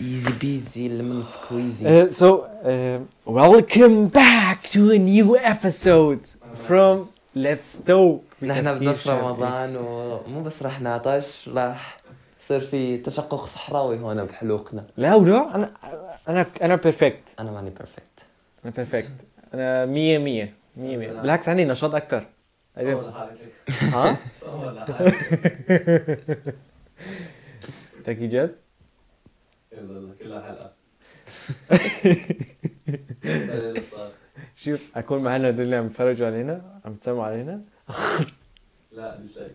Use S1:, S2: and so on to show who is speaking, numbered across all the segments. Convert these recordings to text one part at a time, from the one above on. S1: ايزي بيزي لمن سكويزي
S2: Uh, so, um, welcome back to a new episode from Let's Talk.
S1: نحن
S2: بتفكير
S1: بنص
S2: شعبي.
S1: رمضان ومو بس رح نعطش رح يصير في تشقق صحراوي هون بحلوقنا
S2: لا ولا انا انا انا بيرفكت
S1: انا ماني بيرفكت
S2: انا بيرفكت انا 100 100 100 100 بالعكس عندي نشاط اكثر
S3: صور لحالك
S2: ها
S3: صور لحالك
S2: تاكي جد
S3: يلا يلا كلها حلقه
S2: شوف اكون مع هلا اللي عم يتفرجوا علينا عم يتسمعوا علينا
S3: لا مش هيك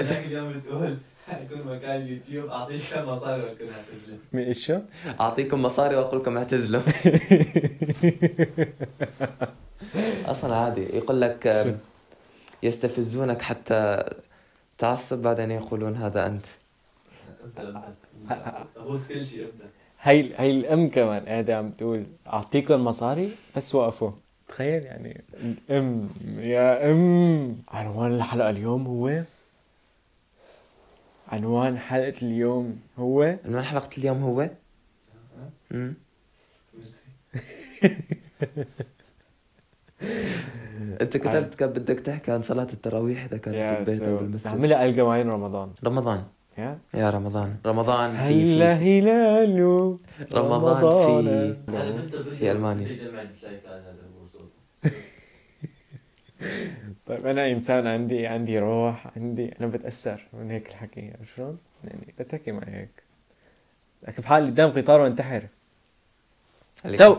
S3: انت اليوم بتقول حيكون مكان يوتيوب اعطيك مصاري واكلها تسلم
S2: من ايش شو؟
S1: اعطيكم مصاري واقول لكم اعتزلوا اصلا عادي يقول لك آم، يستفزونك حتى تعصب بعدين يقولون هذا انت
S3: ابدا ابدا ابوس كل شيء ابدا
S2: هي هي الام كمان قاعده عم تقول اعطيكم مصاري بس وقفوا تخيل يعني الام يا ام عنوان الحلقه اليوم هو عنوان حلقه اليوم هو
S1: عنوان حلقه اليوم هو مم. انت كتبت كان بدك تحكي عن صلاه التراويح اذا كان
S2: يا
S1: بالبيت او
S2: سو
S1: بالمسجد
S2: نعملها الجماعين رمضان
S1: رمضان
S2: يا
S1: يا رمضان رمضان في-
S2: هلا
S1: في
S2: هلاله
S1: رمضان
S2: رمضان.
S3: في
S1: في ألمانيا.
S3: جمع السلايك هذا الموضوع
S2: طيب انا انسان عندي عندي روح عندي انا بتاثر من هيك الحكي عرفت شلون؟ يعني لا تحكي معي هيك لكن بحال قدام قطار وانتحر
S1: عليك.
S2: سو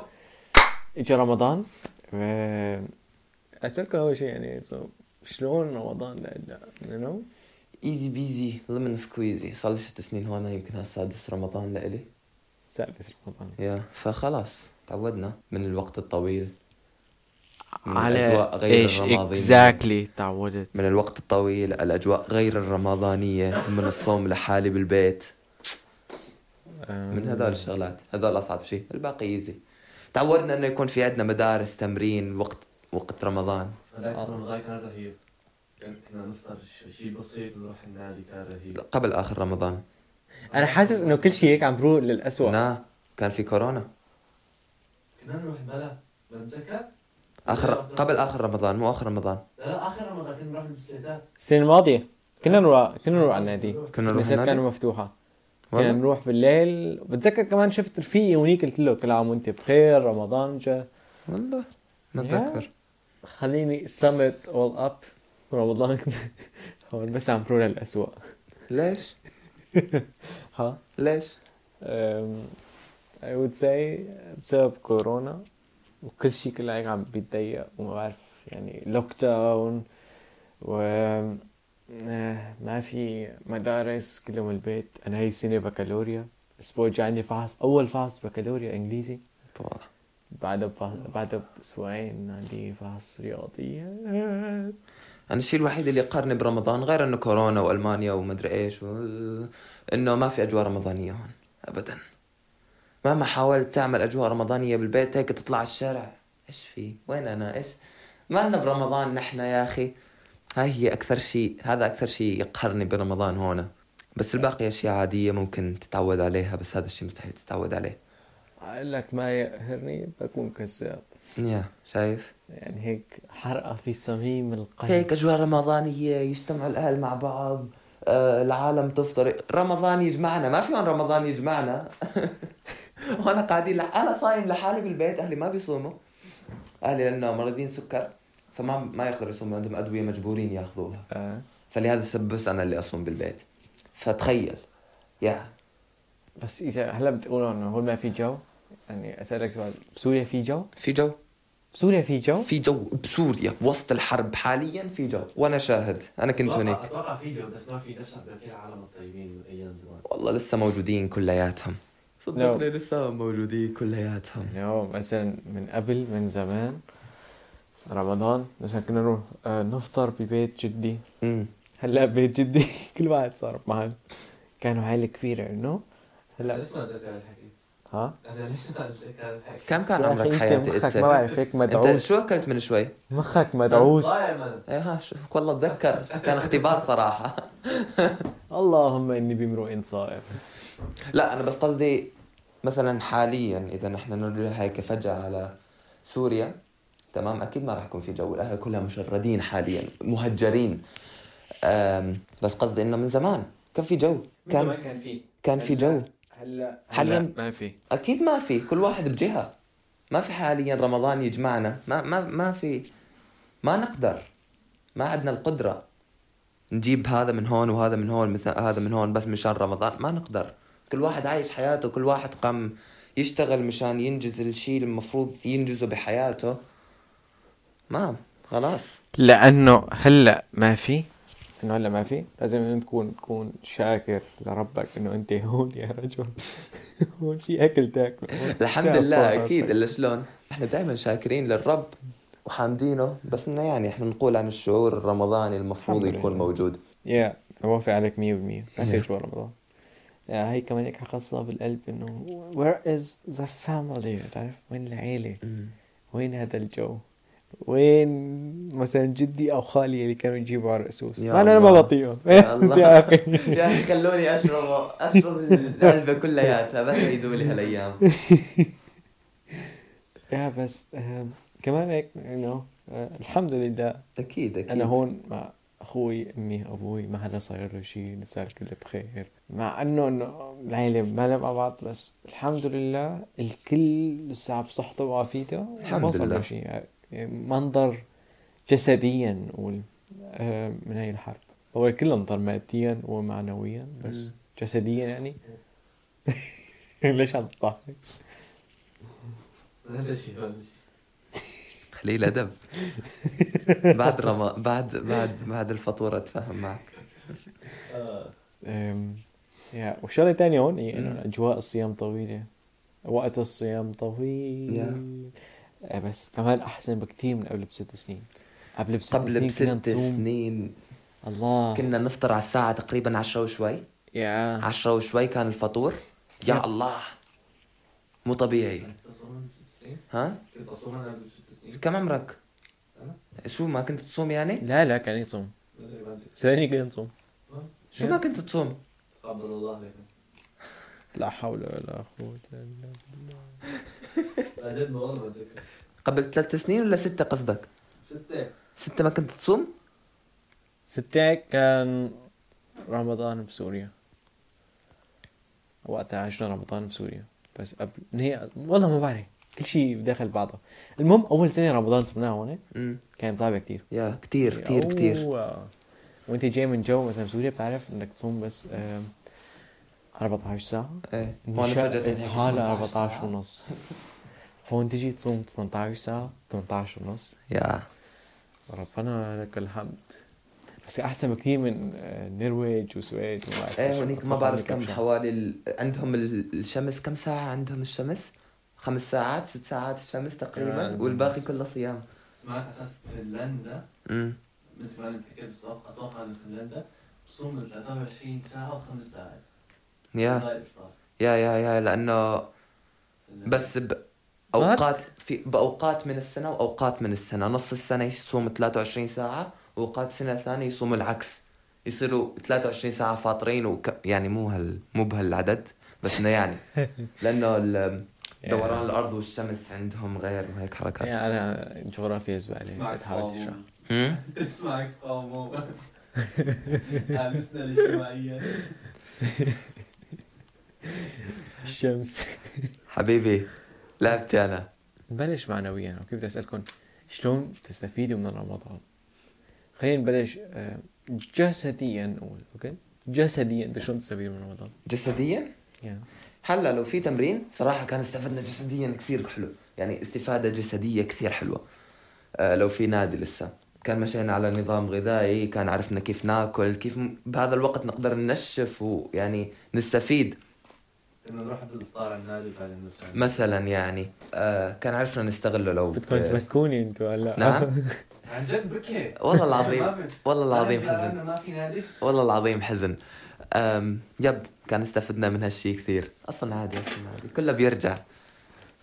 S2: اجى رمضان و- اسالكم اول شيء يعني so شلون رمضان لا لا you know؟
S1: ايزي بيزي لمن سكويزي صار لي ست سنين هون يمكن سادس رمضان لإلي
S2: سادس رمضان
S1: يا فخلاص تعودنا من الوقت الطويل من
S2: على
S1: الأجواء غير
S2: ايش
S1: الرمادية.
S2: اكزاكتلي تعودت
S1: من الوقت الطويل الاجواء غير الرمضانيه من الصوم لحالي بالبيت من هذول الشغلات هذول اصعب شيء الباقي ايزي تعودنا انه يكون في عندنا مدارس تمرين وقت وقت رمضان
S3: هذاك رمضان كان رهيب كان- كنا نفطر ش- شيء بسيط ونروح النادي كان رهيب
S1: قبل اخر رمضان
S2: انا حاسس انه كل شيء هيك عم بروح للاسوء
S1: لا كان في كورونا
S3: كنا نروح بلا بتذكر؟
S1: اخر قبل اخر رمضان مو اخر رمضان
S3: لا لا اخر رمضان كنا نروح المسلسلات
S2: السنه الماضيه كنا نروح كنا نروح على النادي
S1: كنا نروح
S2: النساء
S1: النادي
S2: كانوا مفتوحه كنا
S1: والله
S2: نروح بالليل بتذكر كمان شفت رفيقي ونيك قلت له كل عام وانت بخير رمضان جا
S1: والله ما
S2: يا.
S1: اتذكر
S2: خليني سمت اول اب رمضان هو بس عم بروح للأسوأ
S1: ليش
S2: ها
S1: ليش
S2: أم، Um, I would say بسبب كورونا وكل شيء كله هيك عم بيتضيق وما بعرف يعني لوك داون و آه، ما في مدارس كلهم البيت انا هي السنه بكالوريا الاسبوع الجاي عندي فحص اول فحص بكالوريا انجليزي
S1: بابا.
S2: بعدها بفحص بعدها باسبوعين عندي فحص رياضيات
S1: انا الشيء الوحيد اللي قارني برمضان غير انه كورونا والمانيا ومدري ايش و... انه ما في اجواء رمضانيه هون ابدا مهما حاولت تعمل اجواء رمضانيه بالبيت هيك تطلع على الشارع ايش في وين انا ايش مالنا برمضان نحن يا اخي هاي هي اكثر شيء هذا اكثر شيء يقهرني برمضان هون بس الباقي اشياء عاديه ممكن تتعود عليها بس هذا الشيء مستحيل تتعود عليه
S2: اقول لك ما يقهرني بكون كذاب
S1: يا شايف
S2: يعني هيك حرقه في صميم القلب
S1: هيك اجواء رمضانيه يجتمعوا الاهل مع بعض آه، العالم تفطر رمضان يجمعنا ما في هون رمضان يجمعنا وانا قاعدين لح... انا صايم لحالي بالبيت اهلي ما بيصوموا اهلي لانه مريضين سكر فما ما يقدروا يصوموا عندهم ادويه مجبورين ياخذوها
S2: آه.
S1: فلهذا السبب بس انا اللي اصوم بالبيت فتخيل يا
S2: بس اذا هلا بتقولوا انه هون ما في جو يعني اسالك سؤال بسوريا في جو؟
S1: في جو
S2: بسوريا في جو؟
S1: في جو بسوريا وسط الحرب حاليا في جو وانا شاهد انا كنت
S3: أتوقع-
S1: هناك
S3: اتوقع في جو بس ما في نفس باقي العالم الطيبين من ايام زمان
S1: والله لسه موجودين كلياتهم
S2: نعم.
S1: صدقني لسه موجودين كلياتهم
S2: يعني مثلا من قبل من زمان رمضان مثلا كنا نروح آه، نفطر ببيت جدي
S1: امم
S2: هلا ببيت جدي كل واحد صار محل كانوا عائله كبيره انه
S3: لا
S2: هلا
S3: ليش ما اتذكر الحكي؟
S2: ها
S3: انا ليش ما اتذكر الحكي؟
S1: كم كان
S2: يا أخي
S1: عمرك
S2: أنت
S1: حياتي
S2: مخك
S1: انت؟
S2: ما بعرف هيك
S1: انت
S2: مدعوس
S1: شو اكلت من شوي؟ إيه،
S2: مخك مدعوس
S3: ضايع انا
S1: ايه ها شو والله اتذكر كان اختبار صراحه
S2: اللهم اني بامرؤ صائم
S1: لا انا بس قصدي مثلا حاليا اذا نحن نرجع هيك فجاه على سوريا تمام اكيد ما راح يكون في جو الاهل كلها مشردين حاليا مهجرين أم، بس قصدي انه من زمان كان في جو
S3: من
S1: كان
S3: زمان كان في
S1: كان في جو
S3: هلا
S1: حاليا
S2: ما في
S1: اكيد ما في كل واحد بجهه ما في حاليا رمضان يجمعنا ما ما ما في ما نقدر ما عندنا القدره نجيب هذا من هون وهذا من هون مثل هذا من هون بس مشان رمضان ما نقدر كل واحد عايش حياته كل واحد قام يشتغل مشان ينجز الشيء المفروض ينجزه بحياته ما خلاص
S2: لانه هلا ما في انه هلا ما في لازم انت تكون تكون شاكر لربك انه انت هون يا رجل هون في اكل تاكله هون في
S1: الحمد
S2: سقف فوق
S1: لله اكيد
S2: راسك.
S1: الا شلون احنا دائما شاكرين للرب وحامدينه بس انه يعني احنا نقول عن الشعور الرمضاني المفروض
S2: الحمد
S1: يكون
S2: لله.
S1: موجود
S2: يا اوافق عليك 100% ما في جوا رمضان يا هي كمان هيك خاصة بالقلب انه where is the family تعرف وين العيلة وين هذا الجو وين مثلا جدي او خالي اللي كانوا يجيبوا على الرؤوس
S1: يا
S2: مع إنه انا ما
S1: الله.
S2: بطيقهم
S1: يا الله.
S2: بس يا اخي
S1: يا اخي خلوني اشرب اشرب العلبه كلياتها بس يدوا لي هالايام
S2: يا بس آم، كمان هيك انه آه، الحمد لله
S1: اكيد اكيد
S2: انا هون مع اخوي امي ابوي ما حدا صاير له شيء صار كله بخير مع انه انه العيله ما مع بعض بس الحمد لله الكل لسه بصحته وعافيته
S1: الحمد
S2: ما صار له
S1: لله.
S2: شيء يعني منظر جسديا نقول آه، من هاي الحرب هو الكل انظر ماديا ومعنويا بس
S1: مم.
S2: جسديا يعني ليش عم تضحك؟
S3: ولا شيء ولا شيء
S1: قليل ادب بعد رما بعد بعد بعد الفطوره اتفاهم معك
S3: آه.
S2: أم، يا وشغله ثانيه هون هي انه
S1: مم.
S2: اجواء الصيام طويله وقت الصيام طويل آه، بس كمان احسن بكثير من قبل بست سنين قبل بست
S1: قبل
S2: سنين كنا
S1: بست
S2: نصوم آه.
S1: سنين
S2: الله
S1: كنا نفطر على الساعه تقريبا عشرة وشوي
S2: يا
S1: عشرة وشوي كان الفطور
S2: آه.
S1: يا الله مو طبيعي
S3: كنت أصوم قبل ست سنين؟
S1: ها
S3: كنت أصوم أنا قبل ست سنين
S1: كم عمرك شو ما كنت تصوم يعني
S2: لا لا كان يصوم
S3: تقريبا ست
S2: ثاني كان يصوم
S1: شو
S2: نعم.
S1: ما كنت تصوم
S3: قبل الله لك
S2: لا حول ولا قوه الا بالله
S3: لا جد ما والله ما أتذكر إيه؟
S1: قبل ثلاث سنين ولا ستة قصدك
S3: ستة
S1: ستة ما كنت تصوم
S2: ستة كان رمضان بسوريا وقتها عشنا رمضان بسوريا بس قبل هي والله ما بعرف كل شيء داخل بعضه المهم اول سنه رمضان صمناه هون
S1: امم
S2: كان صعبه كتير
S1: يا كتير كتير كتير
S2: أوه. وانت جاي من جو مثلا سوريا بتعرف انك تصوم بس آم، 14 ساعه
S1: ايه هون فجأة هيك 18
S2: هلا 14
S1: ساعة.
S2: ونص هون تجي تصوم 18 ساعه 18 ونص
S1: يا
S2: ربنا لك الحمد بس احسن بكثير من آه، النرويج والسويد وما بعرف إيش.
S1: ايه هونيك ما
S2: أتوقع
S1: بعرف
S2: هنيك
S1: كم
S2: أبشع.
S1: حوالي ال... عندهم ال- الشمس كم ساعة عندهم الشمس؟ خمس ساعات ست ساعات الشمس
S2: آه،
S1: تقريبا والباقي
S2: زين.
S1: كله صيام
S3: اسمعك أساس فنلندا
S1: امم
S3: مثل ما أنا حكيت أتوقع أتوقع إن فنلندا بتصوم من 23 ساعة وخمس دقائق
S1: يا
S3: دقائق إفطار
S1: يا يا يا لأنه
S3: فنلندا.
S1: بس بأوقات في بأوقات من السنة وأوقات من السنة نص السنة يصوم 23 ساعة وأوقات سنة ثانية يصوموا العكس يصيروا 23 ساعة فاطرين وك... يعني مو هال مو بهالعدد بس انه يعني لانه ال- دوران الارض والشمس عندهم غير وهيك حركات
S2: يعني انا جغرافيا زباله
S3: اسمعك
S2: بتحاول
S3: فاهمو
S2: تشرح
S1: مم؟
S3: اسمعك فاهمو هالسنة الاجتماعية
S2: الشمس
S1: حبيبي لعبتي انا
S2: نبلش معنويا اوكي بدي اسالكم شلون تستفيدوا من رمضان خلينا نبلش آه، جسديا نقول اوكي جسديا انتوا شلون تستفيدوا من رمضان
S1: جسديا
S2: يعني
S1: هلا لو في تمرين صراحه كان استفدنا جسديا كثير حلو يعني استفاده جسديه كثير حلوه آه لو في نادي لسه كان مشينا على نظام غذائي كان عرفنا كيف ناكل كيف م- بهذا الوقت نقدر ننشف ويعني نستفيد
S3: إنه نروح عند الإفطار على النادي وبعدين نرجع
S1: مثلا يعني آه كان عرفنا نستغله لو
S2: بدكم تبكوني انتوا هلا
S1: نعم
S3: عن جد بكي
S1: والله العظيم
S3: ما في-
S1: والله العظيم
S3: أنا
S1: حزن
S3: زعلان إنه ما في نادي
S1: والله العظيم حزن أم يب كان استفدنا من هالشي كثير اصلا عادي اصلا عادي كله بيرجع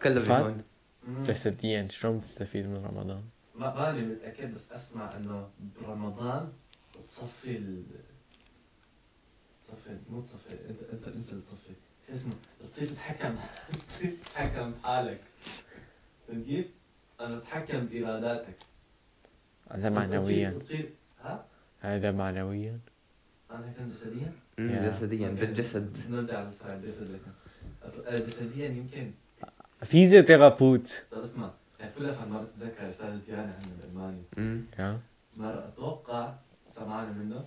S1: كله
S2: فعلا؟
S1: بيهون
S3: مم.
S2: جسديا شلون بتستفيد من رمضان
S3: ما ماني متاكد بس اسمع انه برمضان بتصفي ال تصفي مو تصفي انت انت انت اللي تصفي شو اسمه تصير تتحكم تصير تتحكم بحالك فهمت كيف؟ انا اتحكم باراداتك
S2: هذا
S3: أنت تصير-
S2: معنويا
S3: تصير ها؟
S2: هذا معنويا
S3: انا كان جسديا
S1: أمم،
S2: يا.
S1: جسديا
S3: أوكي.
S1: بالجسد
S3: نرجع للفعل الجسد لكن أت- آه، جسديا يمكن
S2: فيزيوثيرابوت
S3: طب اسمع يعني فل اخر مره بتذكر استاذ جانا احنا بالماني
S1: أمم.
S2: يا
S3: مره اتوقع سمعنا منه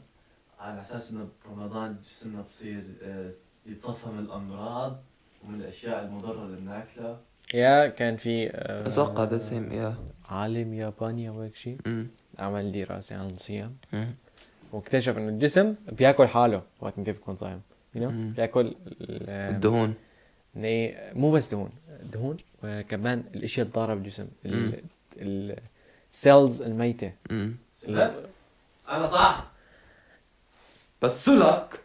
S3: على اساس انه برمضان جسمنا بصير آه، يتصفى من الامراض ومن الاشياء المضره اللي بناكلها
S1: إيه.
S2: يا كان في آه،
S1: اتوقع ذا سيم يا
S2: عالم ياباني او هيك شيء
S1: أمم.
S2: عمل دراسه عن الصيام
S1: أمم.
S2: واكتشف انه الجسم بياكل حاله وقت انت بتكون صايم you know؟
S1: مم.
S2: بياكل ال-
S1: الدهون
S2: إنه مو بس دهون دهون وكمان الاشياء الضاره بالجسم
S1: مم.
S2: السيلز الميته
S1: أمم.
S3: شباب انا صح
S1: بس لك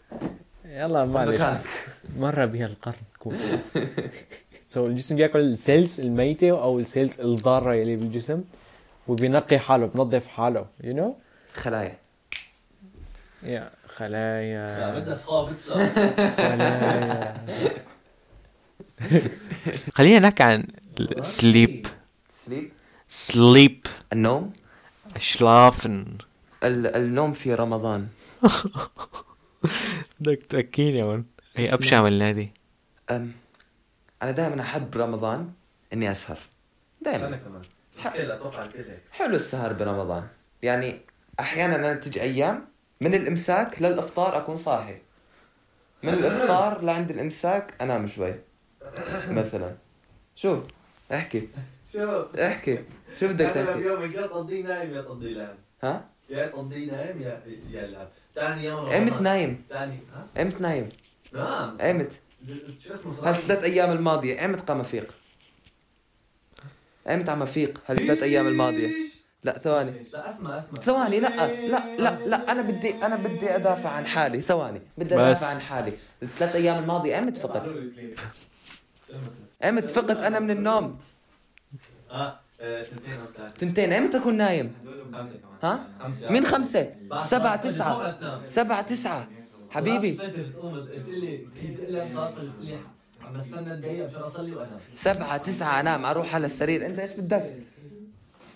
S2: يلا ما
S1: مكانك
S2: مره بهالقرن كون سو الجسم بياكل السيلز الميته او السيلز الضاره اللي بالجسم وبينقي حاله بنظف حاله يو نو
S1: خلايا
S2: يا
S1: آه.
S2: خلايا
S3: لا بدها فخاب بتصير.
S2: خلينا نحكي عن السليب
S1: سليب
S2: سليب
S1: النوم
S2: شلافن
S1: ال- النوم في رمضان
S2: بدك تأكيني يا مان هي ابشع من هذه
S1: أم. انا دائما احب برمضان اني اسهر
S3: انا
S1: دائما
S3: كمان الكل اتوقع الكل هيك
S1: حلو السهر برمضان يعني احيانا انا تجي ايام من الامساك للافطار اكون صاحي من الافطار لعند الامساك انام شوي مثلا شو احكي
S3: شو
S1: احكي شو بدك
S3: انا
S1: تحكي
S3: بيومك يا تقضيه نايم يا تقضيه لعب
S1: ها
S3: يا تقضيه نايم يا يا لعب ثاني يوم
S1: قمت
S3: رمضان.
S1: نايم
S3: ثاني ها
S1: قمت نايم
S3: نعم
S1: قمت
S3: شو اسمه صراحه
S1: هالثلاث ايام الماضيه قمت قام مفيق قمت عم مفيق هالثلاث ايام الماضيه لا ثواني
S3: لا اسمع اسمع
S1: ثواني لا آه، لا لا لا انا بدي انا بدي ادافع عن حالي ثواني بدي
S2: بس.
S1: ادافع عن حالي الثلاث ايام الماضيه قمت فقط قمت فقط انا من النوم
S3: اه آه، تنتين او ثلاثه
S1: تنتين امتى اكون نايم
S3: خمسه كمان
S1: ها؟
S3: خمسه
S1: مين خمسة
S3: بعد
S1: سبعة
S3: صلاة الفجر فورا
S1: تسعة
S3: تنام.
S1: سبعة تسعة حبيبي
S3: صلاة الفجر تقوم قلت لي قلت لي صلاة الفجر عم بستنى دقيقة مشان اصلي وانام
S1: سبعة تسعة انام اروح على السرير انت ايش بدك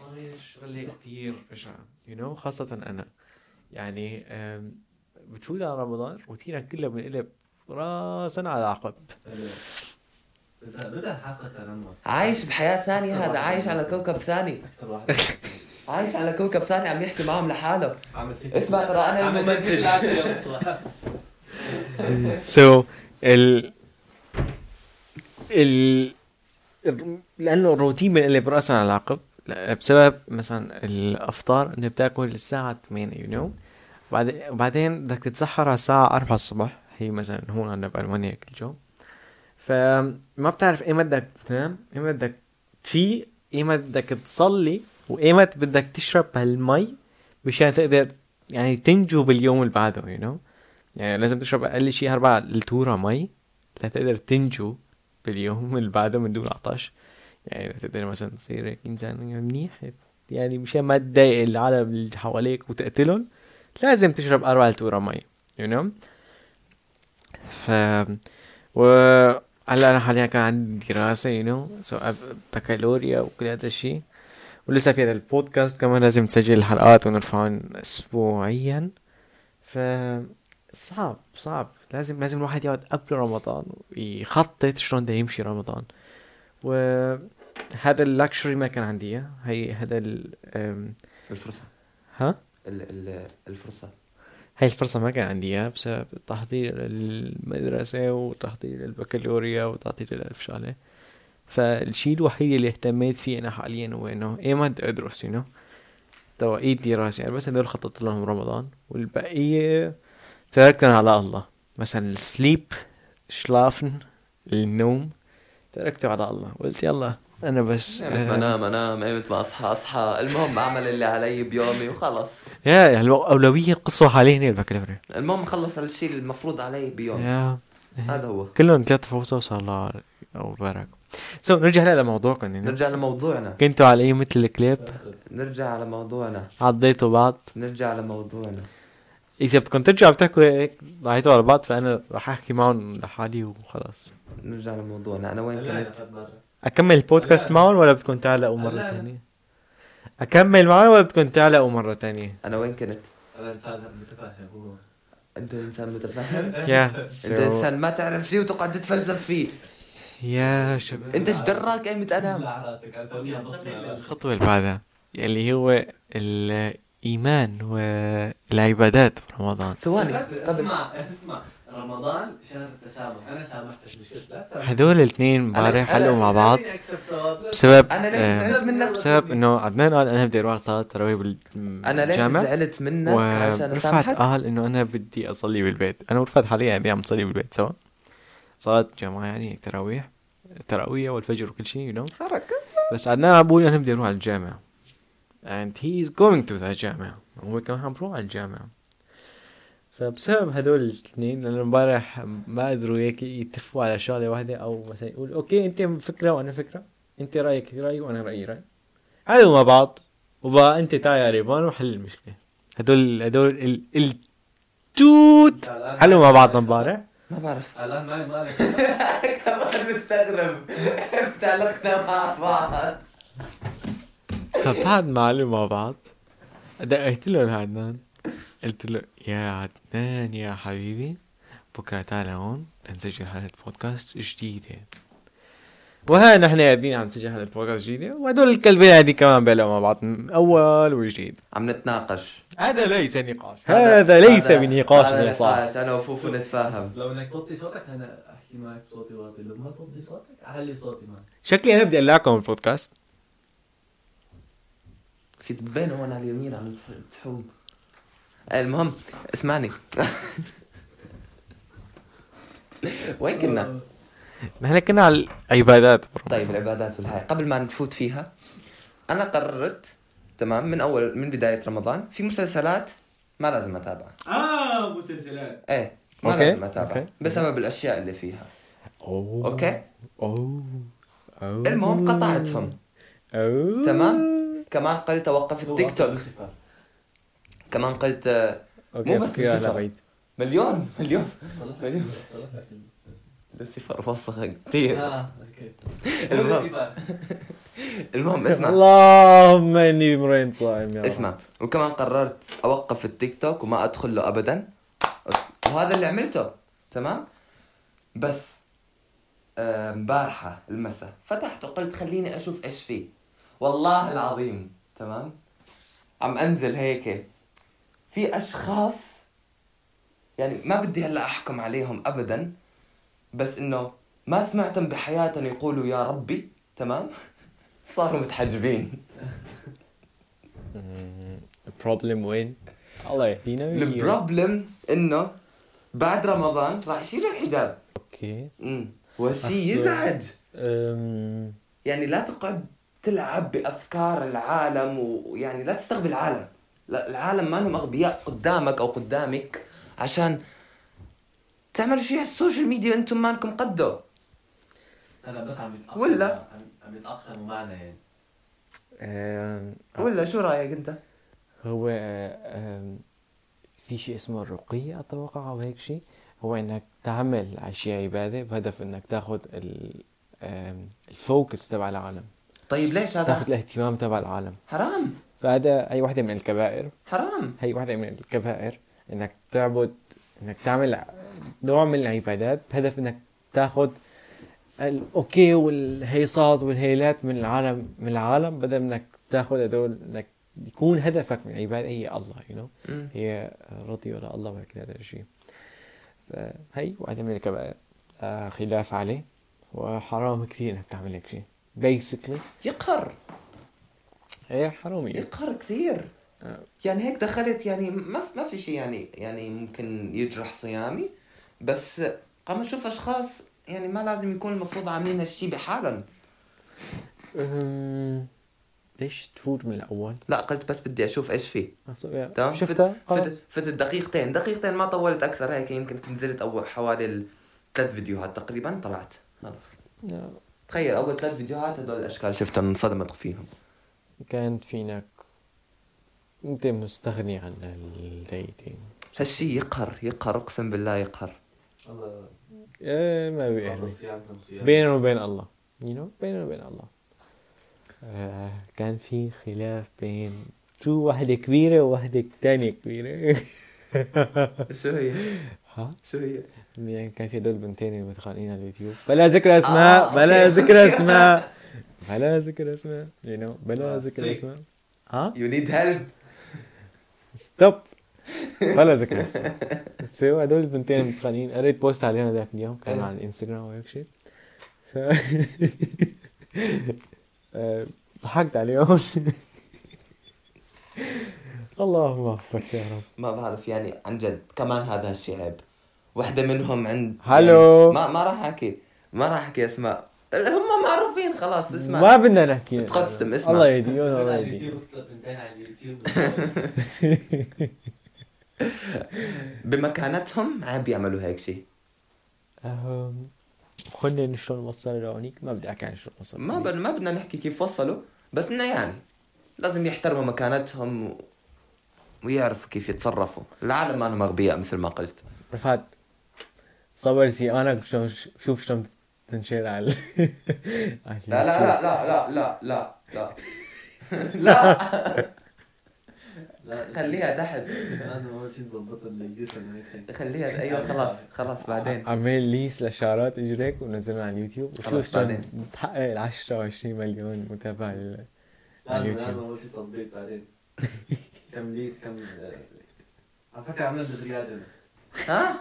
S2: صاير شغلة كثير بشعة يو نو خاصة أنا يعني أم، بتفوت على رمضان روتينك كله بنقلب راسا على عقب
S3: بدها بدها حلقة تنمر
S1: عايش بحياة ثانية هذا عايش على كوكب ثاني
S3: اكثر واحد
S1: عايش على كوكب ثاني عم يحكي معهم لحاله
S3: عامل فيك
S1: اسمع ترى انا
S3: عامل فيك
S1: الممثل
S3: ثلاثة يا مصطفى.
S2: سو ال ال الر- لانه الروتين بنقلب راسا على العقب لا، بسبب مثلا الافطار انه بتاكل الساعه 8 يو نو بعد بعدين بدك تتسحر على الساعه 4 الصبح هي مثلا هون عندنا بالمانيا كل جو فما بتعرف إيه ايمت بدك تنام ايمت بدك تفيق ايمت بدك إيه تصلي وايمت بدك تشرب هالمي مشان تقدر يعني تنجو باليوم اللي بعده يو you know? يعني لازم تشرب اقل شيء اربع لتوره مي لتقدر تنجو باليوم اللي بعده من دون عطش يعني لتقدر مثلا تصير هيك انسان منيح يعني مشان ما تضايق العالم اللي حواليك وتقتلهم لازم تشرب اربع لتوره مي يو you know? ف و هلا انا حاليا كان عندي دراسه يو نو سو بكالوريا وكل هذا الشيء ولسه في هذا البودكاست كمان لازم تسجل الحلقات ونرفعهم اسبوعيا ف صعب صعب لازم لازم الواحد يقعد قبل رمضان ويخطط شلون بده يمشي رمضان وهذا اللكشري ما كان عندي إياه. هي هذا ال أم،
S1: الفرصة
S2: ها
S1: ال- ال- الفرصة
S2: هاي الفرصة ما كان عندي إياها بسبب تحضير المدرسة وتحضير البكالوريا وتحضير الألف شغلة فالشيء الوحيد اللي اهتميت فيه أنا حاليا هو إنه إيه ما بدي أدرس يو نو توقيت دراسي يعني بس هدول خططت لهم رمضان والبقية تركتهم على الله مثلا السليب شلافن النوم تركته على الله قلت يلا أنا بس
S1: قمت ما انام انام قمت يعني ما اصحى اصحى المهم اعمل اللي علي بيومي وخلص
S2: آه، يا الأولوية القصوى حاليا هي البكالوريا
S1: المهم خلص الشيء المفروض علي بيوم
S2: يا
S1: هذا هو
S2: كلهم ثلاثة فوز وصار الله او بارك سو نرجع هلا لموضوعكم يعني
S1: نرجع لموضوعنا
S2: كنتوا على اي مثل الكليب
S1: نرجع لموضوعنا
S2: عضيتوا بعض
S1: نرجع لموضوعنا
S2: اكسبت كنت ترجعوا بتحكوا هيك ضحيتوا على بعض فانا راح احكي معهم لحالي وخلاص
S1: نرجع لموضوعنا انا وين
S3: هلا انا
S1: كنت
S3: فات برا
S2: اكمل البودكاست
S3: لا.
S2: معهم ولا بدكم تعلقوا مره
S3: لا.
S2: ثانيه اكمل معهم ولا بدكم تعلقوا مره ثانيه
S1: انا وين كنت
S3: انا انسان متفهم هو
S1: انت انسان متفهم
S2: يا
S1: انت انسان ما تعرف شيء وتقعد تتفلسف فيه
S2: يا شباب
S1: انت ايش دراك قيمة انا
S3: على راسك اسويها بصمه
S2: الخطوة اللي بعدها اللي هو الإيمان والعبادات برمضان
S1: ثواني قبل
S3: اسمع اسمع رمضان شهر التسامح انا سامحتك مش كده. لا تسامح
S2: هدول الاثنين امبارح
S1: أنا-
S2: حلقوا مع بعض
S3: خليني أكسب ثواب. لا
S2: بسبب
S1: انا ليش
S2: آه،
S1: زعلت منك
S2: بسبب انه عدنان قال انا بدي اروح على صلاة التراويح بالجامع
S1: انا ليش زعلت منك عشان
S2: ورفعت
S1: اسامحك
S2: قال انه انا بدي اصلي بالبيت انا ورفعت حاليا يعني عم نصلي بالبيت سوا صلاة جماعة يعني هيك تراويح تراويح والفجر وكل شيء يو نو
S1: حركة
S2: بس عدنان عم بقول انا بدي اروح على الجامع and he is going to the جامعة هو كمان عم بروح على الجامعة فبسبب هدول الاثنين لانه امبارح ما قدروا هيك يتفقوا على شغله واحده او مثلا يقول اوكي انت فكره وانا فكره انت رايك راي وانا رايي راي حلوا مع بعض وبقى انت تعال يا ريبان وحل المشكله هدول هدول ال التوت
S3: أنت الآن-
S2: حلوا مع بعض امبارح
S1: ما بعرف
S3: الان ما مالك
S1: كمان مستغرب تعلقنا مع بعض
S2: فبعد ما علموا مع بعض دقيت له لعدنان قلت له يا عدنان يا حبيبي بكره تعال هون نسجل حلقه بودكاست جديده وها نحن قاعدين عم نسجل حلقه بودكاست جديده وهدول الكلبين هذه كمان بيلعبوا مع بعض من اول وجديد
S1: عم نتناقش
S2: هذا ليس نقاش هذا ليس بنقاش
S1: هذا
S2: يا صاحبي
S1: نقاش. انا وفوفو نتفاهم
S3: لو انك توطي صوتك انا احكي معك بصوتي واطي لو ما توطي صوتك اعلي صوتي معك
S2: شكلي انا بدي اقلعكم من البودكاست
S1: في دبين هون على اليمين عم تحوم إيه، المهم اسمعني وين كنا؟
S2: نحن كنا على العبادات
S1: طيب العبادات والهاي قبل ما نفوت فيها انا قررت تمام من اول من بدايه رمضان في مسلسلات ما لازم اتابعها
S4: اه مسلسلات
S1: ايه ما
S2: أوكي،
S1: لازم اتابعها
S2: أوكي.
S1: بسبب الاشياء اللي فيها
S2: أوه.
S1: اوكي
S2: أوه. أوه.
S1: المهم قطعت فم
S2: أوه.
S1: تمام كمان قلت اوقف التيك توك
S3: صفر.
S1: كمان قلت آه،
S2: أوكي،
S1: مو بس
S2: فكرة على
S1: الفكرة.
S2: بعيد.
S1: مليون مليون
S3: طلع-
S1: مليون.
S3: طلع لك ال-
S1: لوسيفر وسخة كثير
S3: اه اوكي
S1: المهم.
S3: لوسيفر.
S1: المهم اسمع
S2: اللهم اني امرئ صائم يا رب.
S1: اسمع وكمان قررت اوقف التيك توك وما ادخل له ابدا وهذا اللي عملته تمام بس آه، امبارحه المساء فتحته قلت خليني اشوف ايش فيه والله العظيم تمام عم انزل هيك في اشخاص يعني ما بدي هلا احكم عليهم ابدا بس انه ما سمعتهم بحياتهم يقولوا يا ربي تمام صاروا متحجبين
S2: البروبلم وين؟ الله يهدينا ويهدينا.
S1: البروبلم انه بعد رمضان راح يشيل الحجاب
S2: اوكي
S1: امم وشي
S2: أحسن.
S1: يزعج
S2: Um, أم،
S1: يعني لا تقعد تلعب بافكار العالم ويعني لا تستغبي العالم لا العالم ما هم اغبياء قدامك او قدامك عشان تعملوا شيء على السوشيال ميديا انتم مالكم قده
S3: انا بس عم يتاقلم
S1: ولا؟
S3: عم- عم يتاقلموا معنا يعني
S2: أم،
S1: ولا شو رايك انت؟
S2: um, هو أم، في شيء اسمه الرقية اتوقع او هيك شيء هو انك تعمل على شيء عبادة بهدف انك تاخذ ال- أم، الفوكس تبع العالم
S1: طيب ليش هذا؟
S2: تاخذ الاهتمام تبع العالم
S1: حرام
S2: فهذا هي واحدة من الكبائر
S1: حرام
S2: هي واحدة من الكبائر انك تعبد انك تعمل نوع من العبادات بهدف انك تاخذ الاوكي والهيصات والهيلات من العالم من العالم بدل من انك تاخذ هدول انك يكون هدفك من العبادة هي الله يو you know?
S1: مم.
S2: هي رضي ولا الله وكل هذا الشيء فهي واحدة من الكبائر آه، خلاف عليه وحرام كثير انك تعمل هيك شيء بيسكلي
S1: يقهر
S2: هي حرامية
S1: يقهر كثير
S2: آه.
S1: يعني هيك دخلت يعني ما ما في شيء يعني يعني ممكن يجرح صيامي بس قام اشوف اشخاص يعني ما لازم يكون المفروض عاملين هالشيء بحالهم
S2: أم، ليش تفوت من الاول؟
S1: لا قلت بس بدي اشوف ايش فيه تمام
S2: تمام شفتها؟
S1: فت-
S2: خلص
S1: فت- فتت دقيقتين دقيقتين ما طولت اكثر هيك يمكن نزلت اول حوالي ثلاث فيديوهات تقريبا طلعت خلص
S2: نعم.
S1: تخيل اول ثلاث فيديوهات هدول الاشكال شفتهم انصدمت فيهم
S2: كانت فينك انت مستغني عن الديتين
S1: هالشي يقهر يقهر اقسم بالله يقهر
S3: الله
S2: إيه ما بيعني
S3: الله صيامنا وصيامنا.
S2: بيننا وبين الله you know بيننا وبين الله آه كان في خلاف بين تو واحدة كبيرة وواحدة تانية كبيرة
S1: شو هي؟
S2: ها
S1: شو هي؟
S2: يعني كان في هدول بنتين اللي متخانقين على اليوتيوب بلا ذكر اسماء
S1: آه،
S2: بلا
S1: أوكي.
S2: ذكر اسماء بلا ذكر اسماء you know بلا
S3: آه،
S2: ذكر
S3: سيك.
S2: اسماء ها
S1: يو نيد هيلب
S2: ستوب بلا ذكر اسماء سو هدول البنتين المتخانقين قريت بوست علينا ذاك اليوم كان
S1: إيه.
S2: على الانستغرام وهيك شيء ف آه، ضحكت عليهم اللهم وفقك يا رب
S1: ما بعرف يعني عن جد كمان هذا هالشي عيب وحده منهم عند
S2: هلو.
S1: يعني ما ما راح احكي ما راح احكي اسماء هم معروفين خلاص اسمع
S2: ما بدنا نحكي
S1: تقسم، اسمع.
S2: الله يهديهم
S3: بنتين
S2: الله
S3: على
S2: يهديهم
S3: اليوتيوب اكتب بنتين على اليوتيوب
S1: بمكانتهم عيب يعملوا هيك شيء
S2: أهم، خلينا شلون وصلنا لهونيك ما بدي احكي عن شلون وصلنا
S1: ما بد... ما بدنا نحكي كيف وصلوا بس انه يعني لازم يحترموا مكانتهم و... ويعرفوا كيف يتصرفوا العالم ما انهم اغبياء مثل ما قلت
S2: رفعت صور سي انا شلون شوف شلون تنشر على على
S1: لا لا لا لا لا لا
S3: لا
S1: خليها تحت
S3: لازم اول شيء نظبطها نليسها من هيك
S1: خليها ايوه خلاص خلاص بعدين
S2: عمل ليس لشعرات اجريك ونزلهم على اليوتيوب وشوف
S1: خلاص
S2: شلون
S1: بعدين.
S2: تحقق ال 10 20 مليون متابع لل-
S3: لازم
S2: اليوتيوب.
S3: لازم اول شيء تظبيط بعدين كم ليس كم آه، على فكره عملنا دبرياج انا
S1: ها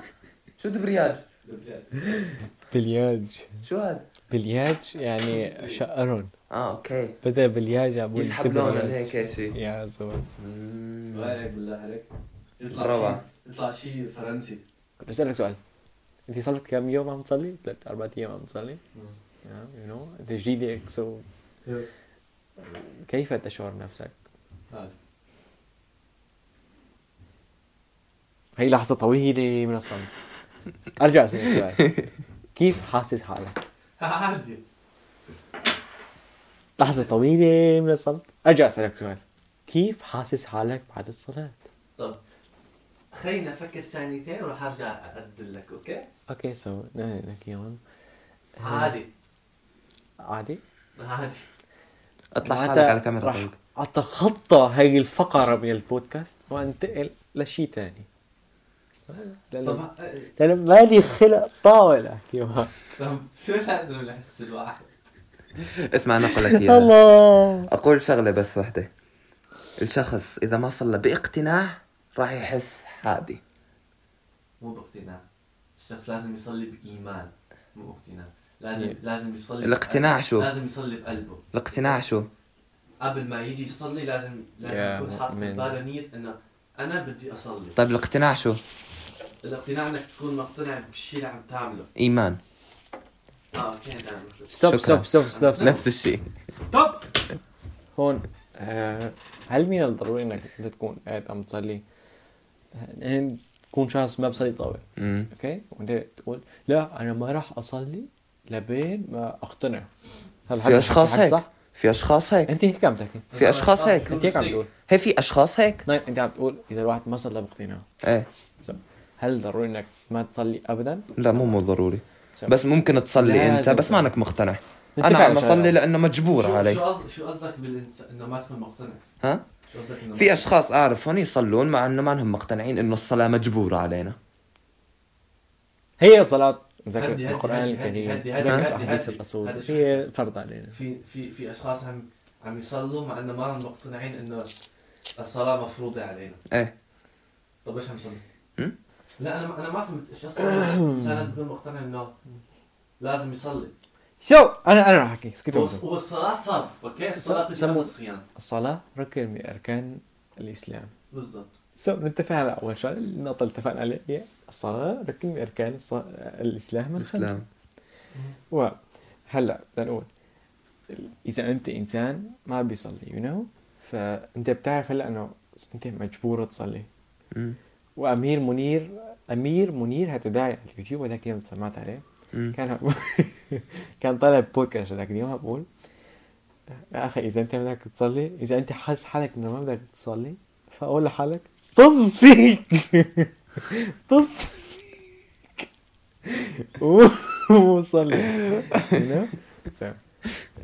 S1: شو دبرياج
S3: دبرياج
S2: بلياج
S1: شو هذا
S2: بلياج يعني شقرهم
S1: اه اوكي
S2: بدا بلياج عبود
S1: يسحب لونهم هيك شيء
S2: يا زوز
S3: رايك بالله عليك يطلع
S1: روعة.
S3: شيء يطلع شيء فرنسي
S2: كنت بسألك سؤال انت صار لك كم يوم عم تصلي؟ ثلاث اربع ايام عم تصلي؟ يو نو انت جديدة سو كيف تشعر نفسك؟
S3: هذا.
S2: هي لحظة طويلة من الصمت ارجع اسألك سؤال كيف حاسس حالك؟
S3: عادي
S2: لحظة طويلة من الصمت ارجع اسألك سؤال كيف حاسس حالك بعد الصلاة؟
S3: طب خلينا افكر ثانيتين وراح ارجع اعدل لك اوكي؟
S2: اوكي سو لك يوم
S3: عادي
S2: عادي؟
S3: عادي
S1: اطلع حالك
S2: معناتها
S1: على الكاميرا
S2: رح
S1: طيب
S2: اتخطى هاي الفقرة من البودكاست وانتقل لشيء ثاني
S3: طب
S2: لأنه
S3: آه،
S2: لأنه مالي خلق طاولة احكي معك.
S3: طب شو لازم الحس الواحد؟
S1: اسمع انا اقول لك اياها
S2: الله
S1: اقول شغله بس وحده الشخص اذا ما صلى باقتناع راح يحس حادي
S3: مو باقتناع الشخص لازم يصلي بايمان مو باقتناع لازم
S2: إيه.
S3: لازم يصلي
S1: الاقتناع شو؟
S3: لازم يصلي بقلبه
S1: الاقتناع شو
S3: قبل ما يجي يصلي لازم
S2: يا
S3: لازم يكون حاطط
S2: مؤمن.
S3: بباله نية انه انا بدي اصلي
S1: طيب الاقتناع شو
S3: الاقتناع انك تكون مقتنع بالشيء اللي عم تعمله
S1: ايمان
S3: اه اوكي نعم
S2: ستوب
S1: شكراً.
S2: ستوب ستوب ستوب, ستوب.
S1: نفس الشيء
S4: ستوب
S2: هون آه، هل من الضروري انك انت تكون قاعد عم تصلي يعني تكون شخص ما بصلي طاولة
S1: امم
S2: اوكي وانت تقول لا انا ما راح اصلي لبين ما اقتنع هل
S1: في اشخاص
S2: هل
S1: هيك
S2: صح؟
S1: في اشخاص هيك
S3: إيه.
S2: انت هيك عم تحكي
S1: في أشخاص هيك.
S2: انت هيك عم تقول
S1: هي في اشخاص هيك
S2: نعم انت عم تقول اذا الواحد ما صلى باقتناع
S1: ايه
S2: هل ضروري انك ما تصلي ابدا؟
S1: لا مو مو ضروري بس ممكن تصلي
S2: لازم
S1: انت بس ما
S2: تصلي.
S1: انك مقتنع
S2: نتفق
S1: انا عم
S2: على شغلة.
S1: اصلي لانه مجبور
S3: شو شو
S1: علي
S3: قصد- شو قصدك بالإنس- انه ما تكون مقتنع؟
S1: ها
S3: شو قصدك انه
S1: في اشخاص اعرفهم يصلون مع انه ما انهم مقتنعين انه الصلاه مجبوره علينا
S2: هي صلاة ذكر
S3: هدي- هدي-
S2: القرآن
S3: هدي-
S2: الكريم
S3: هدي- هدي-
S2: ذكر
S3: هدي-
S2: أحاديث
S3: هدي-
S2: الرسول
S3: هدي-
S2: هي فرض علينا
S3: في في في اشخاص عم عم يصلوا مع انه ما هم مقتنعين انه الصلاه مفروضه علينا
S1: ايه
S3: طب ليش عم يصلي؟
S1: أم؟
S3: لا انا انا ما فهمت الشخص الانسان لازم يكون مقتنع انه لازم يصلي
S2: شو أنا أنا رح أحكي اسكتوا
S3: والص- والصلاه فرض اوكي الصلاه
S2: سمو-
S3: تجمع الصيام
S2: الصلاة ركن من أركان الإسلام
S3: بالضبط
S2: سو نتفق على أول شيء النقطة اللي اتفقنا عليها هي الصلاة ركن من أركان الص- الإسلام الخمسة
S1: الاسلام
S2: وهلا بدنا نقول إذا أنت إنسان ما بيصلي يو نو فأنت بتعرف هلا إنه أنت مجبور تصلي
S1: أمم،
S2: وامير منير امير منير هتداعي على اليوتيوب هذاك اليوم سمعت عليه
S1: أمم.
S2: كان كان طالع بودكاست هذاك اليوم بقول يا اخي اذا انت بدك تصلي اذا انت حاسس حالك انه ما بدك تصلي فقول لحالك طز فيك بص فيك. و- ووصل لك. You know? So,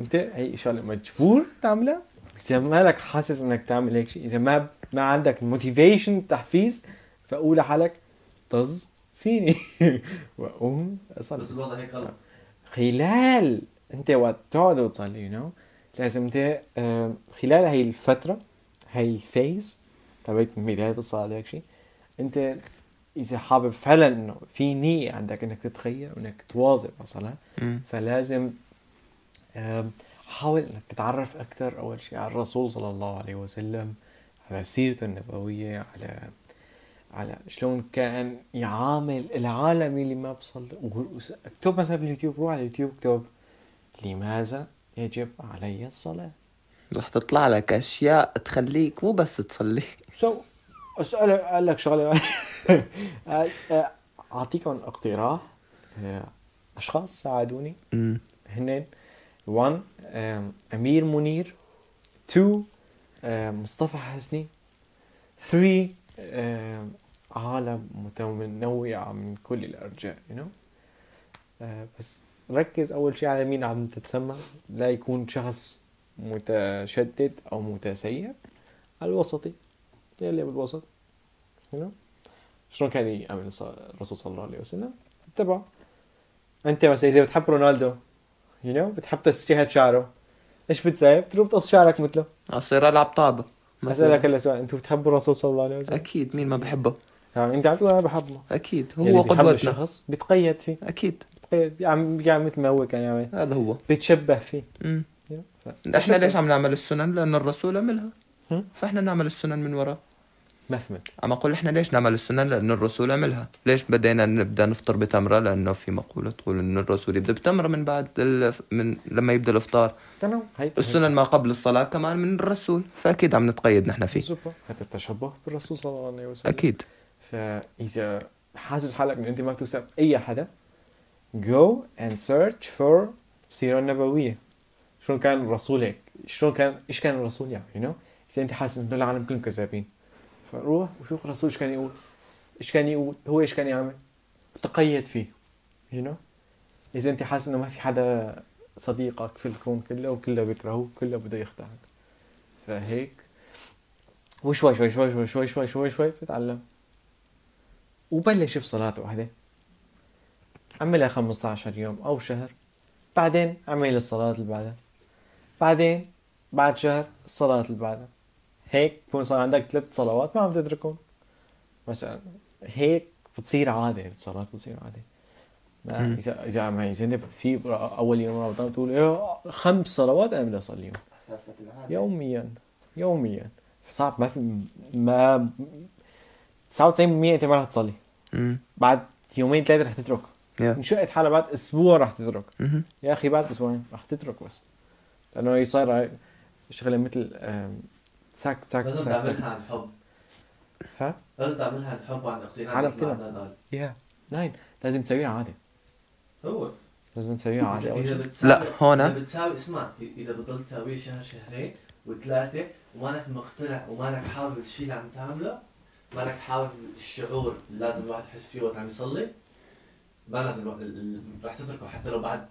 S2: انت هي شغله مجبور تعملها بس اذا مالك حاسس انك تعمل هيك شيء اذا ما ما عندك موتيفيشن تحفيز فقول لحالك طز فيني واقوم اصلي
S3: بس الوضع هيك غلط
S2: خلال انت وقت تقعد وتصلي يو نو لازم انت آم، خلال هاي الفترة هاي الفيز تبعت بداية الصلاة هيك شيء انت اذا حابب فعلا انه في نية عندك انك تتغير وانك تواظب على الصلاة
S1: مم.
S2: فلازم آم، حاول انك تتعرف اكثر اول شيء على الرسول صلى الله عليه وسلم على سيرته النبوية على على شلون كان يعامل العالم اللي ما بصلي و- وس- اكتب مثلا باليوتيوب روح على اليوتيوب اكتب لماذا يجب علي الصلاة
S1: رح تطلع لك اشياء تخليك مو بس تصلي
S2: سو اسال قال لك شغله اعطيكم اقتراح آه، اشخاص ساعدوني
S1: مم.
S2: هن 1 امير um, منير 2 مصطفى حسني 3 آم، عالم متنوعة من كل الأرجاء you know? آه، بس ركز أول شيء على مين عم تتسمع لا يكون شخص متشدد أو متسيب الوسطي اللي بالوسط you know? شلون كان يعمل الص- الرسول صلى الله عليه وسلم اتبعه انت مثلا اذا بتحب رونالدو يو نو بتحب تسريحة شعره ايش بتسوي؟ بتروح بتقص شعرك مثله
S1: اصير العب طابه مثلاً.
S2: اسالك هلا سؤال انتوا بتحبوا الرسول صلى الله عليه وسلم؟
S1: اكيد مين ما بحبه
S2: نعم انت عم تقول انا بحبه
S1: اكيد هو
S2: يعني بيحب
S1: قدوتنا
S2: الشخص بيتقيد فيه
S1: اكيد
S2: بيتقيد بيعمل بيعمل مثل ما هو كان يعمل
S1: هذا هو
S2: بيتشبه فيه
S1: مم.
S2: you know? ف-
S1: احنا ليش عم نعمل السنن لانه الرسول عملها
S2: هم؟
S1: فاحنا نعمل السنن من وراه
S2: ما فهمت
S1: عم اقول احنا ليش نعمل السنن لانه الرسول عملها ليش بدينا نبدا نفطر بتمره لانه في مقوله تقول انه الرسول يبدا بتمره من بعد ال... من لما يبدا الافطار
S2: تمام هي
S1: السنن ما قبل الصلاه كمان من الرسول فاكيد عم نتقيد نحن فيه
S2: سوبر هذا التشبه بالرسول صلى الله عليه وسلم
S1: اكيد
S2: فاذا حاسس حالك انه انت ما بتوثق اي حدا go and search for سيره النبويه شلون كان الرسول هيك شلون كان ايش كان الرسول يعني you know اذا انت حاسس انه العالم كلهم كذابين فروح وشوف الرسول ايش كان يقول ايش كان يقول هو ايش كان يعمل تقيد فيه you know اذا انت حاسس انه ما في حدا صديقك في الكون كله وكله بيكرهوك كله بده يخدعك فهيك وشوي شوي شوي شوي شوي شوي شوي شوي بتتعلم وبلش بصلاة واحدة عملها 15 يوم أو شهر بعدين عمل الصلاة اللي بعدها بعدين بعد شهر الصلاة اللي بعدها هيك بكون صار عندك ثلاث صلوات ما عم تتركهم مثلا هيك بتصير عادة الصلاة بتصير عادة ما
S1: مم.
S2: إذا إذا ما إذا أنت في أول يوم رمضان بتقول إيه خمس صلوات أنا بدي أصليهم يوميا يوميا صعب ما في ما 99% انت ما رح تصلي
S1: امم
S2: بعد يومين ثلاثه رح تترك
S1: يا
S2: انشقت حالها بعد اسبوع رح تترك
S1: مهم.
S2: يا اخي بعد اسبوعين رح تترك بس لانه هي صايره شغله مثل آم، تسك تسك
S3: لازم
S2: تسك تسك
S3: تعملها عن حب
S2: ها؟
S3: لازم تعملها عن حب وعن اقتناع
S2: عن
S3: مثل ما
S2: اقتناع.
S3: عدنان قال
S2: يا ناين لازم تسويها عادي
S3: هو
S2: لازم تسويها عادي
S3: إذا-
S2: اول شيء
S3: إذا بتساوي-
S1: لا، هون.
S3: إذا بتساوي اسمع إذا بتضل تساويه شهر شهرين وثلاثة ومانك مقتنع ومانك حابب الشيء اللي عم تعمله مانك حابب الشعور اللي لازم الواحد يحس فيه وقت عم يصلي ما لازم الواحد- ال- ال- رح تتركه حتى لو بعد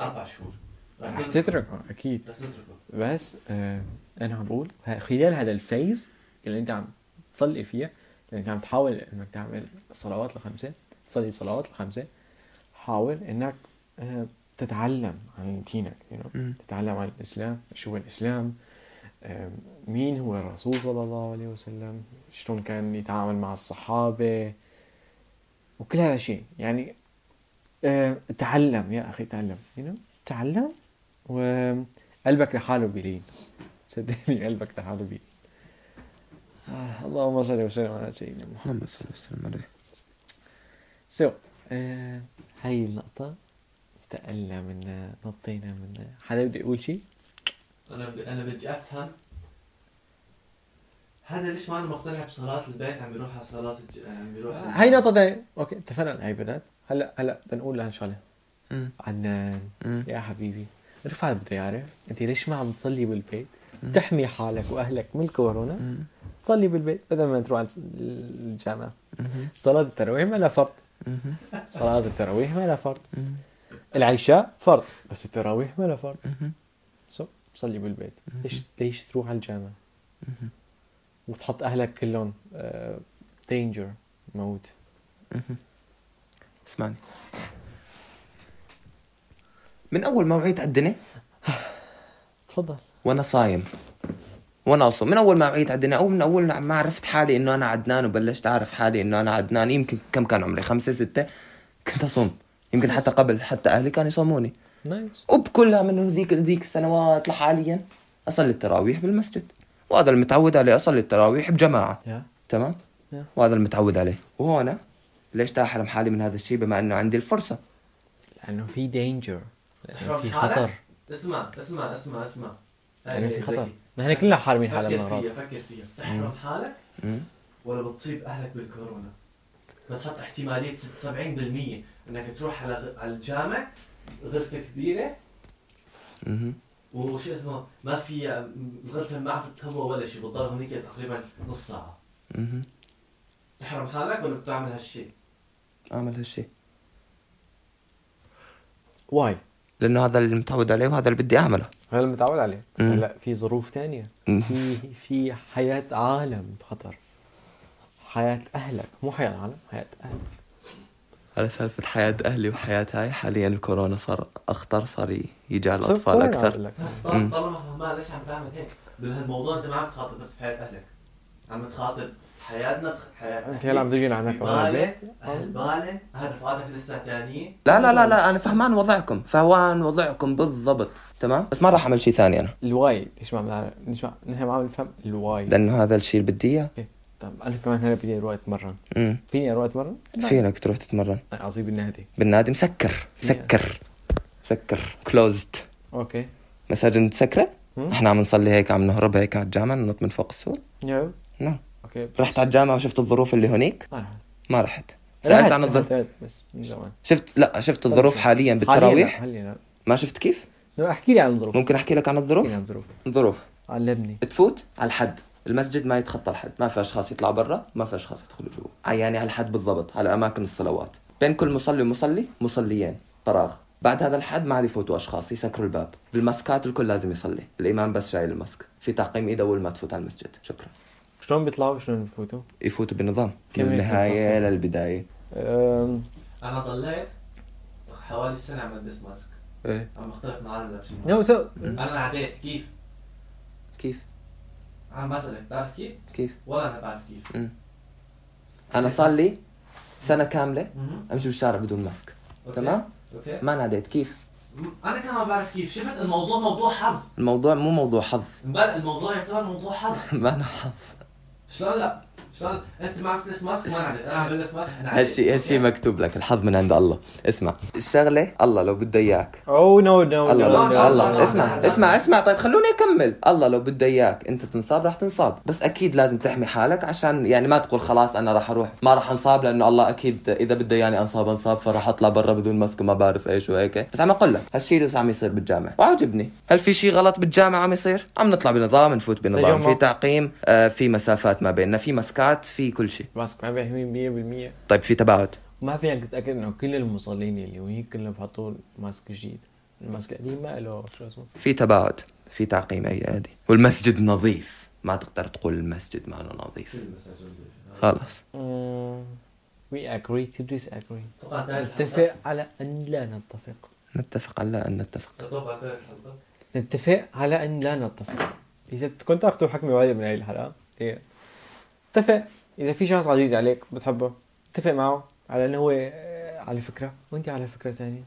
S3: أربع شهور
S2: رح تتركه اكيد
S3: رح تتركه
S2: بس آه انا عم بقول ه- خلال هذا الفيز اللي انت عم تصلي فيها اللي انت عم تحاول انك تعمل الصلوات الخمسه تصلي الصلوات الخمسه حاول انك آه تتعلم عن دينك you know?
S1: مم.
S2: تتعلم عن الاسلام شو هو الاسلام آه مين هو الرسول صلى الله عليه وسلم شلون كان يتعامل مع الصحابه وكل هذا الشيء يعني آه تعلم يا اخي تعلم you know? تعلم و قلبك لحاله بيلين صدقني قلبك لحاله بيلين آه اللهم صل وسلم على سيدنا محمد
S1: اللهم صل وسلم عليه
S2: سو آه هاي اللقطة انتقلنا من نطينا من حدا بده يقول شيء؟
S3: أنا ب... أنا بدي أفهم هذا ليش ما أنا مقتنع بصلاة البيت عم بيروح على صلاة الج... عم بيروح على
S2: هاي نقطة تانية اوكي اتفقنا على هاي بدات هلا هلا بدنا نقول لها شغلة
S1: مم.
S2: عدنان
S1: مم.
S2: يا حبيبي رفعت بده يعرف انت ليش ما عم تصلي بالبيت؟
S1: مم.
S2: تحمي حالك واهلك من الكورونا
S1: مم.
S2: تصلي بالبيت بدل ما تروح على الجامعة
S1: مهم.
S2: صلاة التراويح ما لها فرض
S1: مهم.
S2: صلاة التراويح ما لها فرض
S1: مهم.
S2: العشاء فرض بس التراويح ما لها فرض
S1: مهم.
S2: صب صلي بالبيت ليش ليش تروح على الجامع وتحط اهلك كلهم آه، دينجر موت
S1: مهم. اسمعني من اول ما وعيت على الدنيا
S2: تفضل
S1: وانا صايم وانا اصلا من اول ما وعيت على الدنيا او من اول ما عرفت حالي انه انا عدنان وبلشت اعرف حالي انه انا عدنان يمكن كم كان عمري خمسة ستة كنت اصوم يمكن حتى قبل حتى اهلي كانوا يصوموني
S2: نايس
S1: وبكلها من ذيك ذيك السنوات لحاليا اصلي التراويح بالمسجد وهذا المتعود عليه اصلي التراويح بجماعه
S2: يا
S1: تمام
S2: Yeah.
S1: وهذا المتعود عليه وهنا ليش تحرم حالي من هذا الشيء بما انه عندي الفرصه
S2: لانه في دينجر لانه
S3: تحرم
S2: في
S3: حالك؟
S2: خطر
S3: اسمع اسمع اسمع اسمع
S2: لانه في خطر
S3: زكي.
S2: نحن كلنا حارمين حالنا من
S3: فكر
S2: الاغراض
S3: فيها فكر فيها تحرم حالك
S1: مم.
S3: ولا بتصيب اهلك بالكورونا بتحط احتماليه 70% انك تروح على غ- على الجامع غرفه كبيره
S1: مهم.
S3: وشو اسمه ما فيها م- الغرفه ما عم تتهوى ولا شيء بتضل هنيك تقريبا نص ساعه
S1: مهم.
S3: تحرم حالك ولا بتعمل هالشيء؟
S1: اعمل هالشيء
S2: واي
S1: لانه هذا اللي متعود عليه وهذا اللي بدي اعمله
S2: هذا متعود عليه بس
S1: مم.
S2: هلا في ظروف تانية
S1: مم.
S2: في في حياة عالم بخطر حياة أهلك مو حياة عالم حياة أهلك
S1: على سالفة حياة أهلي وحياة هاي حاليا الكورونا صار أخطر صار ي- يجي على
S2: صرف
S1: الأطفال
S2: كورونا عم
S1: أكثر
S2: بقول لك.
S1: مم.
S3: طالما طالما فهمان ليش عم تعمل هيك؟ بهالموضوع انت ما عم تخاطب بس بحياه اهلك عم تخاطب حياتنا بخ- حياه
S2: أنت هلا عم تجينا على هناك وهنا
S3: بالك
S2: بالبيت.
S3: اهل بالك اهل رفقاتك لسه ثانيين
S1: لا لا لا لا أنا فهمان وضعكم فهمان وضعكم بالضبط تمام بس ما راح أعمل شيء ثاني أنا
S2: الواي ليش ما عم نعرف- ليش ما نحن ما عم نفهم الواي
S1: لأنه هذا الشيء اللي بدي إياه
S2: أوكي. طب أنا كمان هلا بدي أروح أتمرن
S1: أمم.
S2: فيني أروح أتمرن؟ لا.
S1: فينك تروح تتمرن
S2: أنا قصدي بالنادي
S1: بالنادي مسكر
S2: فيها.
S1: مسكر مسكر كلوزد
S2: أوكي
S1: مساجد متسكرة
S2: مم.
S1: احنا عم نصلي هيك عم نهرب هيك على الجامع ننط من فوق السور
S2: نعم
S1: نعم
S2: أوكي
S1: رحت على الجامع وشفت الظروف اللي هناك
S2: ما رحت
S1: ما رحت سألت
S2: رحت-
S1: عن الظروف
S2: رحت- رحت، بس من زمان
S1: شفت لا شفت الظروف حاليا بالتراويح
S2: حاليا لا
S1: ما شفت كيف
S2: لا، احكي لي عن الظروف
S1: ممكن احكي لك عن
S2: احكي لي
S1: الظروف
S2: عن الظروف
S1: الظروف
S2: علمني
S1: تفوت على الحد المسجد ما يتخطى الحد ما في اشخاص يطلعوا برا ما في اشخاص يدخلوا جوا ع- يعني على الحد بالضبط على اماكن الصلوات بين كل مصلي ومصلي مصليين فراغ بعد هذا الحد ما عاد يفوتوا اشخاص يسكروا الباب بالمسكات الكل لازم يصلي الامام بس شايل المسك في تعقيم ايده اول ما تفوت على المسجد شكرا
S2: شلون بيطلعوا شلون بفوتوا؟
S1: يفوتوا بالنظام
S2: كم
S1: من
S2: هيك
S1: النهايه
S2: بالضبط؟
S1: للبدايه
S2: أم،
S3: انا ضليت حوالي سنه عم لبس ماسك
S1: ايه
S3: عم اختلف مع العالم لابسين ماسك.
S2: نو سو
S3: انا عديت كيف؟
S1: كيف
S3: عم بسالك بتعرف كيف؟
S1: كيف
S3: ولا انا بعرف كيف
S1: مم. انا صار لي سنه كامله
S3: مهم.
S1: امشي بالشارع بدون ماسك
S3: أوكي.
S1: تمام
S3: اوكي
S1: ما ناديت كيف
S3: م- انا كمان ما بعرف كيف شفت الموضوع موضوع حظ
S1: الموضوع مو موضوع حظ
S3: امبارح الموضوع يعتبر موضوع حظ
S1: ما انا حظ
S3: شلون لا؟ شلون انت ما عم تلبس ماسك ما عندك انا عم بلبس ماسك أنا عديت.
S1: هالشيء هالشيء
S3: أوكي؟
S1: مكتوب لك الحظ من عند الله اسمع الشغله الله لو بده اياك
S2: او نو نو
S1: الله
S2: نو
S1: لو
S3: لا،
S1: بده
S3: لا،
S1: الله
S3: لا، لا،
S1: اسمع
S2: آه.
S3: لا، لا.
S1: اسمع اسمع طيب خلوني اكمل الله لو بده اياك انت تنصاب رح تنصاب بس اكيد لازم تحمي حالك عشان يعني ما تقول خلاص انا رح اروح ما رح انصاب لانه الله اكيد اذا بده يعني انصاب انصاب فرح اطلع برا بدون ماسك وما بعرف ايش وهيك بس عم اقول لك هالشيء اللي عم يصير بالجامع وعاجبني هل في شيء غلط بالجامعه عم يصير عم نطلع بنظام نفوت بنظام
S2: تجمع.
S1: في تعقيم آه في مسافات ما بيننا في مسكات في كل شيء
S2: ماسك ما بيهمني 100%
S1: طيب في تباعد
S2: ما فيك تتاكد انه كل المصلين اللي هونيك كلهم بحطوا ماسك جديد الماسك القديم ما له شو اسمه
S1: في تباعد في تعقيم اي عادي والمسجد نظيف ما تقدر تقول المسجد ما نظيف
S3: كل مساجد نظيفة.
S1: خلص
S2: Mm, وي اجري تو ديس اجري
S3: اتوقع انتهت الحلقة.
S2: نتفق على ان لا نتفق
S1: نتفق على أن نتفق
S3: اتوقع انتهت الحلقه
S2: نتفق على ان لا نتفق اذا بدكم تاخذوا حكمه واحده من هاي الحلقه إيه. اتفق اذا في شخص عزيز عليك بتحبه اتفق معه على انه هو آه، على فكره وانت على فكره ثانيه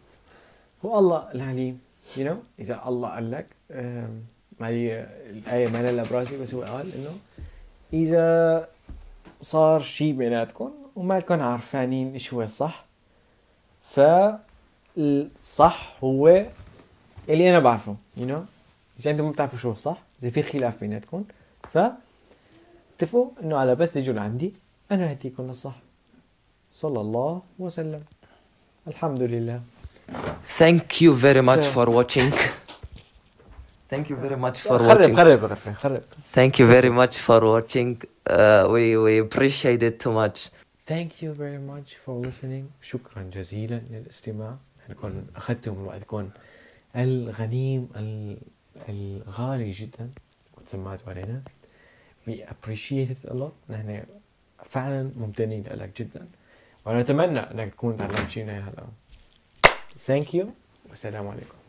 S2: والله العليم يو you know? اذا الله قال لك آم، ما لي الايه ما لها براسي بس هو قال انه اذا صار شيء بيناتكم وما لكم عارفانين ايش هو الصح فالصح هو اللي انا بعرفه يو you know? اذا انتم ما بتعرفوا شو الصح اذا في خلاف بيناتكم ف اتفقوا انه على بس تجوا لعندي انا هديكم للصح صلى الله وسلم الحمد لله
S1: Thank you very much
S2: So-
S1: for watching. Thank you very much for
S2: خرب
S1: watching.
S2: خرب خرب خرب
S1: Thank you very much for watching. Uh, we we appreciate it too much.
S2: Thank you very much for listening شكرا جزيلا للاستماع نكون أخذتم وقتكم الغنيم ال- الغالي جدا وتسمعتوا علينا We appreciate it a lot نحن فعلا ممتنين لك جدا ونتمنى أنك تكون تعلمت شيء من هاي الحلقة Thank you والسلام عليكم